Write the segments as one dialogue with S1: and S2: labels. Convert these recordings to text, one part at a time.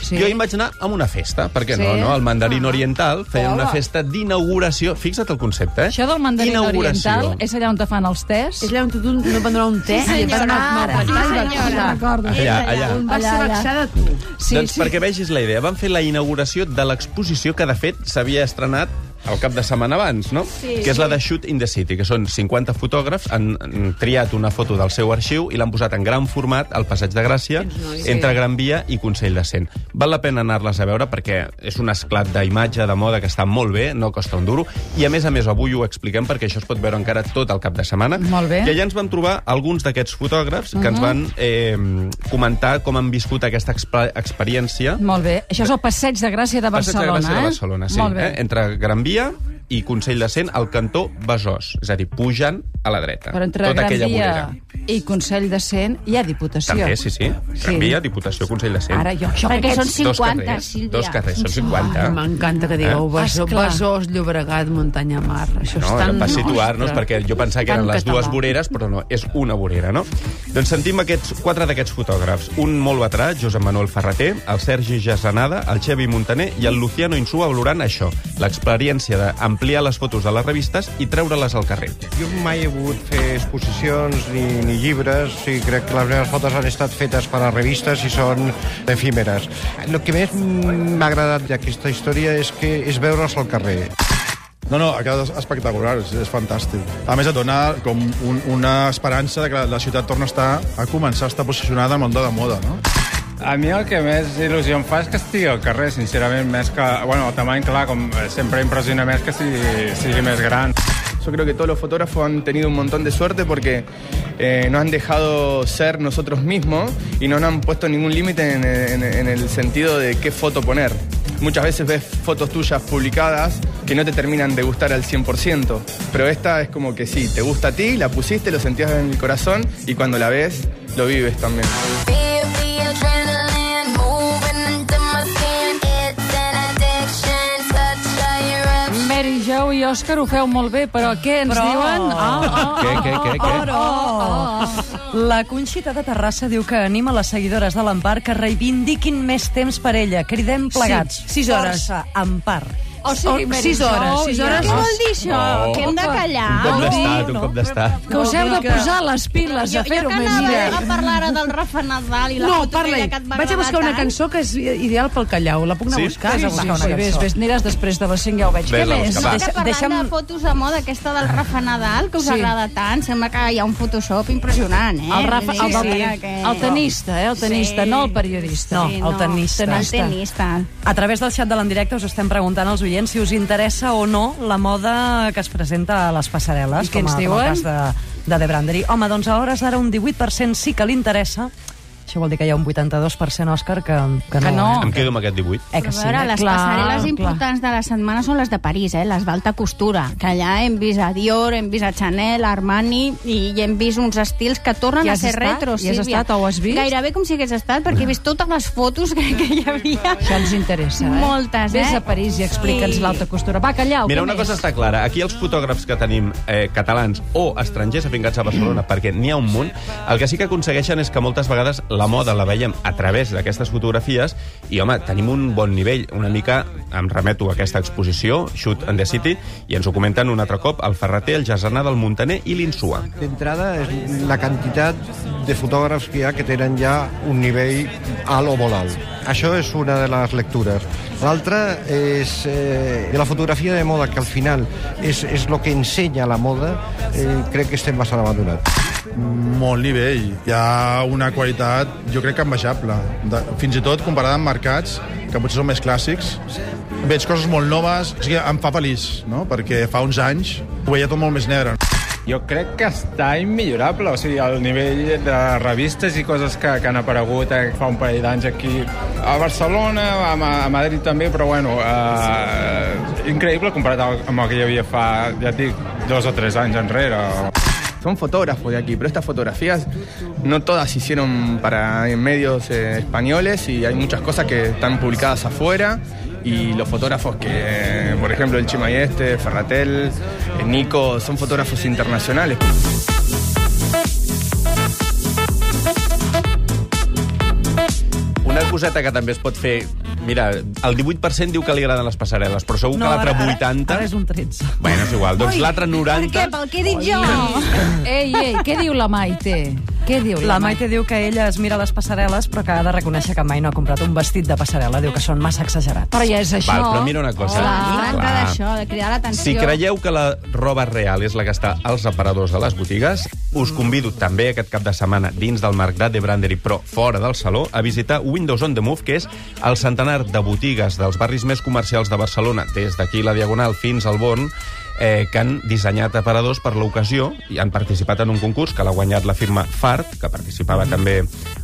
S1: Sí.
S2: Jo hi vaig anar amb una festa, perquè no,
S1: Sí?
S2: no? El mandarín
S1: Ah.
S2: oriental feia una
S1: Hola.
S2: festa d'inauguració. Fixa't el concepte, eh?
S1: Això del mandarín
S2: Inauguració.
S1: oriental és allà on te fan els tés?
S3: És allà on tu no prendrà un te
S4: Sí,
S3: i et vas
S4: senyora,
S3: maltractar
S4: sí,
S3: i
S4: senyora.
S3: vexar. Recordo.
S2: Allà, allà.
S3: On vas ser
S1: Allà, allà.
S3: vexar de tu.
S1: Sí,
S2: doncs perquè vegis la idea, van fer la inauguració de l'exposició que, de fet, s'havia estrenat el cap de setmana abans, no? Sí, que és la de Shoot in the City, que són 50 fotògrafs, han, han triat una foto del seu arxiu i l'han posat en gran format al Passeig de Gràcia, entre Gran Via i Consell de Cent. Val la pena anar-les a veure perquè és un esclat d'imatge, de moda, que està molt bé, no costa un duro, i a més a més avui ho expliquem perquè això es pot veure encara tot el cap de setmana.
S1: Molt bé.
S2: I allà ens vam trobar alguns d'aquests fotògrafs que ens van eh, comentar com han viscut aquesta expe- experiència
S1: Molt bé. Això és el Passeig de Gràcia de
S2: Passeig de
S1: Mm, Barcelona,
S2: Gràcia
S1: eh?
S2: de Barcelona, sí.
S1: Molt bé.
S2: Eh? Entre Gran Via i Consell de Cent, al cantó Besòs. És a dir, pujan a la dreta.
S1: Però entre
S2: tota
S1: Gran
S2: aquella
S1: Via
S2: vorera.
S1: i Consell de Cent hi ha Diputació.
S2: També, sí, sí. Gran Via, Diputació, Consell de Cent.
S1: Ara jo, això
S4: Perquè són
S2: Dos
S4: 50,
S2: carrers,
S4: Sílvia.
S2: Dos carrers, són 50.
S3: M'encanta Ah, que digueu
S1: Eh?
S5: Ah,
S3: Besòs,
S1: Esclar.
S3: Besòs, Llobregat, Muntanya Mar. Això
S2: No,
S3: és
S2: era
S3: tan...
S2: per situar-nos,
S3: Ostres.
S2: perquè jo pensava que eren
S3: Tan
S2: les dues
S3: català.
S2: voreres, però no, és una vorera, no? Doncs sentim aquests, quatre d'aquests fotògrafs. Un molt veterà, Josep Manuel Ferreter, el Sergi Jasanada, el Xevi Montaner i el Luciano Insua valorant això, l'experiència d'ampliar les fotos de les revistes i treure-les al carrer.
S6: Jo mai he volgut fer exposicions ni, ni llibres i crec que les meves fotos han estat fetes per a revistes i són efímeres. El que més m'ha agradat d'aquesta història és que és veure's al carrer.
S7: No, no, ha quedat espectacular, és, és fantàstic. A més, et dona com un, una esperança de que la, la ciutat torna a, estar, a començar a estar posicionada en el de la moda, no?
S8: A mi el que més il·lusió em fa és que estigui al carrer, sincerament, més que... Bueno, el tamany, clar, com eh, sempre impressiona més que sigui, sigui més gran.
S9: Yo creo que todos los fotógrafos han tenido un montón de suerte porque eh, nos han dejado ser nosotros mismos y no nos han puesto ningún límite en, en- en el sentido de qué foto poner. Muchas veces ves fotos tuyas publicadas que no te terminan de gustar al 100%, pero esta es como que sí, te gusta a ti, la pusiste, lo sentías en el corazón y cuando la ves, lo vives también.
S10: Feel the adrenaline moving into my skin. It's an addiction, such a eruption.
S1: Mary Jo i Òscar ho feu molt bé, però què ens
S5: Però-
S1: diuen? Ah,
S2: Què, què, què, què?
S3: Oh,
S5: Però... Oh, La Conxita de Terrassa diu que anima les seguidores de l'Empar que reivindiquin més temps per ella. Cridem plegats.
S3: Sí, sis hores.
S5: Força, Empar.
S4: O sigui,
S3: O-
S4: Mary
S3: sis
S4: Jo,
S3: hores, sis
S4: ja.
S3: hores.
S4: Què vol dir això?
S2: No.
S4: Que hem de callar?
S2: Un cop d'estat, un cop d'estat.
S1: Que us heu de
S3: Vol dir que-
S1: posar les piles a
S4: jo, jo
S1: fer-ho
S4: que
S1: més
S4: anava
S1: bé.
S4: a parlar ara del Rafa Nadal i la
S3: No,
S4: foto
S3: parla-hi.
S4: aquella que et va
S3: Vaig a
S4: agradar
S3: buscar una
S4: tant.
S3: cançó que és ideal pel Callau. La puc anar
S2: Sí?
S3: a buscar?
S2: Sí,
S3: Vaig a
S2: sí,
S3: buscar una
S1: Sí, vés,
S3: cançó.
S1: vés, aniràs després de les 5, ja ho veig. Què
S2: Ves-la a
S1: més?
S2: buscar, va.
S4: Que parlant
S5: Deixa'm-
S4: de fotos de moda, aquesta del Rafa Nadal, que us
S1: Sí.
S4: agrada tant, sembla que hi ha un Photoshop impressionant, eh?
S1: El, Rafa,
S4: Vull dir,
S1: el, del-
S4: mira que-
S1: el tenista, eh? El tenista,
S4: Sí.
S1: no el periodista.
S5: No,
S4: Sí,
S5: el tenista.
S4: El tenista.
S5: A través del xat de l'endirecte us estem preguntant als oients si us interessa o no la moda que es presenta a les passarel·les,
S1: I què
S5: com, a,
S1: ens
S5: com el
S1: diuen?
S5: cas de, de The Brandery. Home, doncs a hores d'ara un 18% sí que li interessa. Això vol dir que hi ha un 82%, Òscar, que, que no.
S1: Que no.
S5: eh?
S2: Em quedo amb aquest 18.
S5: Eh,
S4: Però
S5: que
S4: a
S5: sí,
S4: veure,
S5: eh?
S4: les
S1: clar,
S4: passarel·les
S1: clar.
S4: importants de la setmana són les de París, eh? les d'alta costura, que allà hem vist a Dior, hem vist a Chanel, Armani, i, i hem vist uns estils que tornen
S1: Hi
S4: a
S1: has
S4: ser
S1: estat?
S4: retro,
S1: Hi has
S4: Sílvia.
S1: estat o ho has vist?
S4: Gairebé com si hagués estat, perquè he vist totes les fotos que, que hi havia.
S1: Això ens interessa, eh?
S4: Moltes,
S1: Vés
S4: eh?
S1: a París i explica'ns
S4: Sí.
S1: l'alta costura. Va, callau,
S2: Mira,
S1: què
S2: una
S1: més?
S2: cosa està clara. Aquí els fotògrafs que tenim eh, catalans o estrangers afincats a Barcelona, perquè n'hi ha un munt, el que sí que aconsegueixen és que moltes vegades la moda la veiem a través d'aquestes fotografies i, home, tenim un bon nivell. Una mica em remeto a aquesta exposició, Shoot and the City, i ens ho comenten un altre cop el Ferreter, el Jasana del Montaner i l'Insua.
S6: D'entrada és la quantitat de fotògrafs que hi ha que tenen ja un nivell alt o molt alt. Això és una de les lectures. L'altra és eh, de la fotografia de moda, que al final és, és el que ensenya la moda, eh, crec que estem bastant abandonats.
S7: Molt nivell. Hi ha una qualitat, jo crec que envejable. De, fins i tot comparada amb mercats, que potser són més clàssics, veig coses molt noves. O sigui, em fa feliç, no? Perquè fa uns anys ho veia tot molt més negre.
S8: Jo crec que està immillorable, o sigui, el nivell de revistes i coses que, que han aparegut eh, fa un parell d'anys aquí a Barcelona, a, Ma- a Madrid també, però bueno, eh, increïble comparat al- amb el que hi havia fa, ja et dic, dos o tres anys enrere.
S9: Son fotógrafos de aquí, pero estas fotografías no todas se hicieron para medios eh, españoles y hay muchas cosas que están publicadas afuera y los fotógrafos que, por ejemplo, el Chimayeste, Ferratel, eh, Nico, son fotógrafos internacionales.
S2: Una coseta que també es pot fer Mira, el 18% diu que li agraden les passarel·les, però segur que l'altre
S5: ara- ara-
S2: 80...
S5: Ara és un 13.
S2: Bueno, és igual. Doncs l'altre
S4: Per què?
S2: 90...
S4: Pel que he dit jo?
S1: Ei, ei, què diu la Maite? Què diu la,
S5: La Maite diu que ella es mira les passarel·les, però que ha de reconèixer que mai no ha comprat un vestit de passarel·la. Diu que són massa exagerats.
S1: Però ja és això.
S2: Val, però mira una cosa.
S4: Clar,
S2: Clar.
S4: clar. d'això, de cridar l'atenció.
S2: Si creieu que la roba real és la que està als aparadors de les botigues, us convido també aquest cap de setmana dins del mercat de Brandery, però fora del saló, a visitar Windows on the Move, que és el centenar de botigues dels barris més comercials de Barcelona, des d'aquí la Diagonal fins al Born, eh, que han dissenyat aparadors per l'ocasió i han participat en un concurs que l'ha guanyat la firma Fart, que
S1: Mm-hmm.
S2: participava també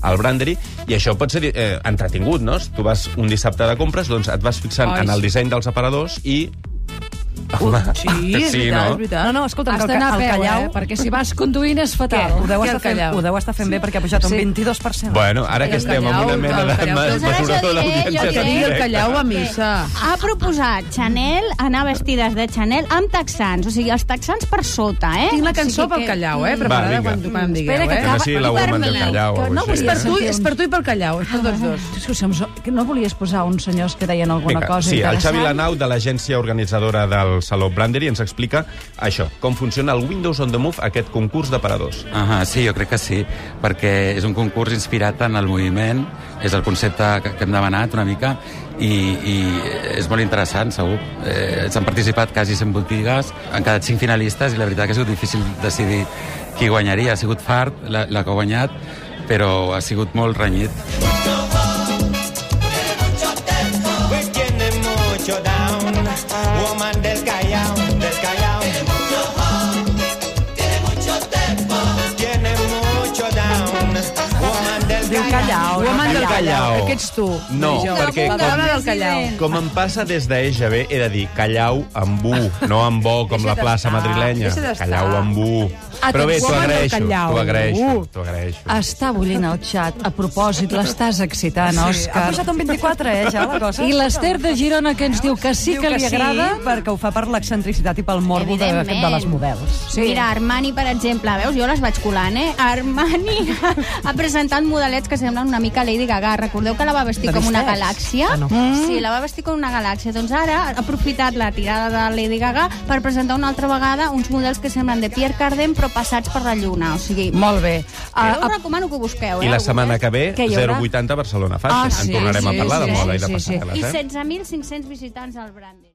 S2: al Brandery, i això pot ser eh, entretingut, no? Si tu vas un dissabte de compres, doncs et vas fixant
S1: Ai,
S2: en el
S1: sí.
S2: disseny dels aparadors i
S3: Ui, Ah, sí, és veritat, és veritat.
S5: No, no, escolta,
S1: Has
S5: que el,
S1: d'anar a
S5: ca- el
S1: peu,
S5: Callau...
S1: eh? Perquè si vas conduint és fatal.
S5: Ho deu,
S3: Què,
S5: estar
S3: el
S5: fent,
S3: Callau?
S5: ho deu estar fent bé perquè ha pujat
S1: Sí.
S5: un 22%.
S2: Bueno, ara que
S3: El
S2: estem amb
S3: Callau,
S2: una mena
S3: el
S2: de
S3: Callau.
S2: mas-
S4: Doncs ara
S2: mesurador
S4: jo diré,
S2: d'audiència
S4: jo
S3: Que digui el
S2: directa.
S3: Callau a missa.
S4: Ha proposat Chanel anar vestides de Chanel amb texans, o sigui, els texans per sota, eh?
S3: Tinc la cançó
S4: o sigui
S3: pel Callau,
S4: Mm.
S3: eh?
S2: Va,
S3: Preparada
S2: vinga.
S3: quan, quan digueu,
S1: Espera que
S3: eh?
S2: Que no sigui la woman del Callau. o
S1: No,
S2: alguna
S3: És
S2: cosa
S3: per
S2: així, eh?
S3: tu, és per tu i pel Callau, és per tots dos.
S1: És que som, que no volies posar uns senyors que deien alguna
S2: Vinga,
S1: cosa
S2: sí, el
S1: interessant?
S2: Xavi Lanau de l'agència organitzadora del Saló Brandery ens explica això, com funciona el Windows on the Move, aquest concurs d'aparadors.
S11: Ah, sí, jo crec que sí, perquè és un concurs inspirat en el moviment, és el concepte que, que hem demanat una mica, i, i és molt interessant, segur. Eh, S'han participat quasi 100 botigues, han quedat 5 finalistes, i la veritat que ha sigut difícil decidir qui guanyaria. Ha sigut fart, la, la que ha guanyat, però ha sigut molt renyit.
S3: Diu Callau. Woman del Callau.
S2: Callau.
S3: Aquest ets tu.
S2: No,
S3: Marijó.
S2: perquè
S3: La dona del Callau.
S2: Com em passa des d'EGB, he de dir callau amb U, no amb O, com la plaça
S3: d'estar,
S2: madrilenya.
S3: deixa d'estar. Ah,
S2: Callau amb U. Però bé, t'ho
S3: Atenció amb el
S2: agraeixo,
S3: callau.
S2: t'ho agraeixo,
S3: Uh.
S2: t'ho agraeixo.
S1: Està bullint el xat. A propòsit, l'estàs excitant,
S5: Sí, ha
S1: Òscar.
S5: pujat un 24, eh, ja, la cosa.
S1: I l'Ester de Girona, que ens diu que sí
S5: Diu
S1: que li agrada...
S5: Sí, perquè ho fa per l'excentricitat i pel morbo de,
S4: Evidentment.
S5: de les models.
S4: Sí. Mira, Armani, per exemple, veus, jo les vaig colant, eh? Armani ha, ha presentat modelets que semblen una mica Lady Gaga. Recordeu que la va vestir
S5: La
S4: com una
S5: vistès?
S4: galàxia?
S5: Ah, no.
S4: mm. Sí, la va vestir com una galàxia. Doncs ara ha aprofitat la tirada de Lady Gaga per presentar una altra vegada uns models que semblen de Pierre Cardin però passats per la lluna. O sigui,
S1: Molt bé.
S4: Ah, jo
S1: Ah,
S4: us recomano que ho busqueu, eh?
S2: Mm. I la
S4: algú,
S2: setmana
S4: eh?
S2: que ve,
S1: Què hi haurà?
S2: 080 Barcelona Fàcil.
S1: Ah,
S2: en
S1: sí,
S2: tornarem
S1: sí,
S2: a parlar
S1: sí,
S2: de moda
S1: sí,
S2: i de
S1: sí, sí.
S2: passarel·les,
S4: I
S2: eh?
S4: 16.500 visitants al Brandy.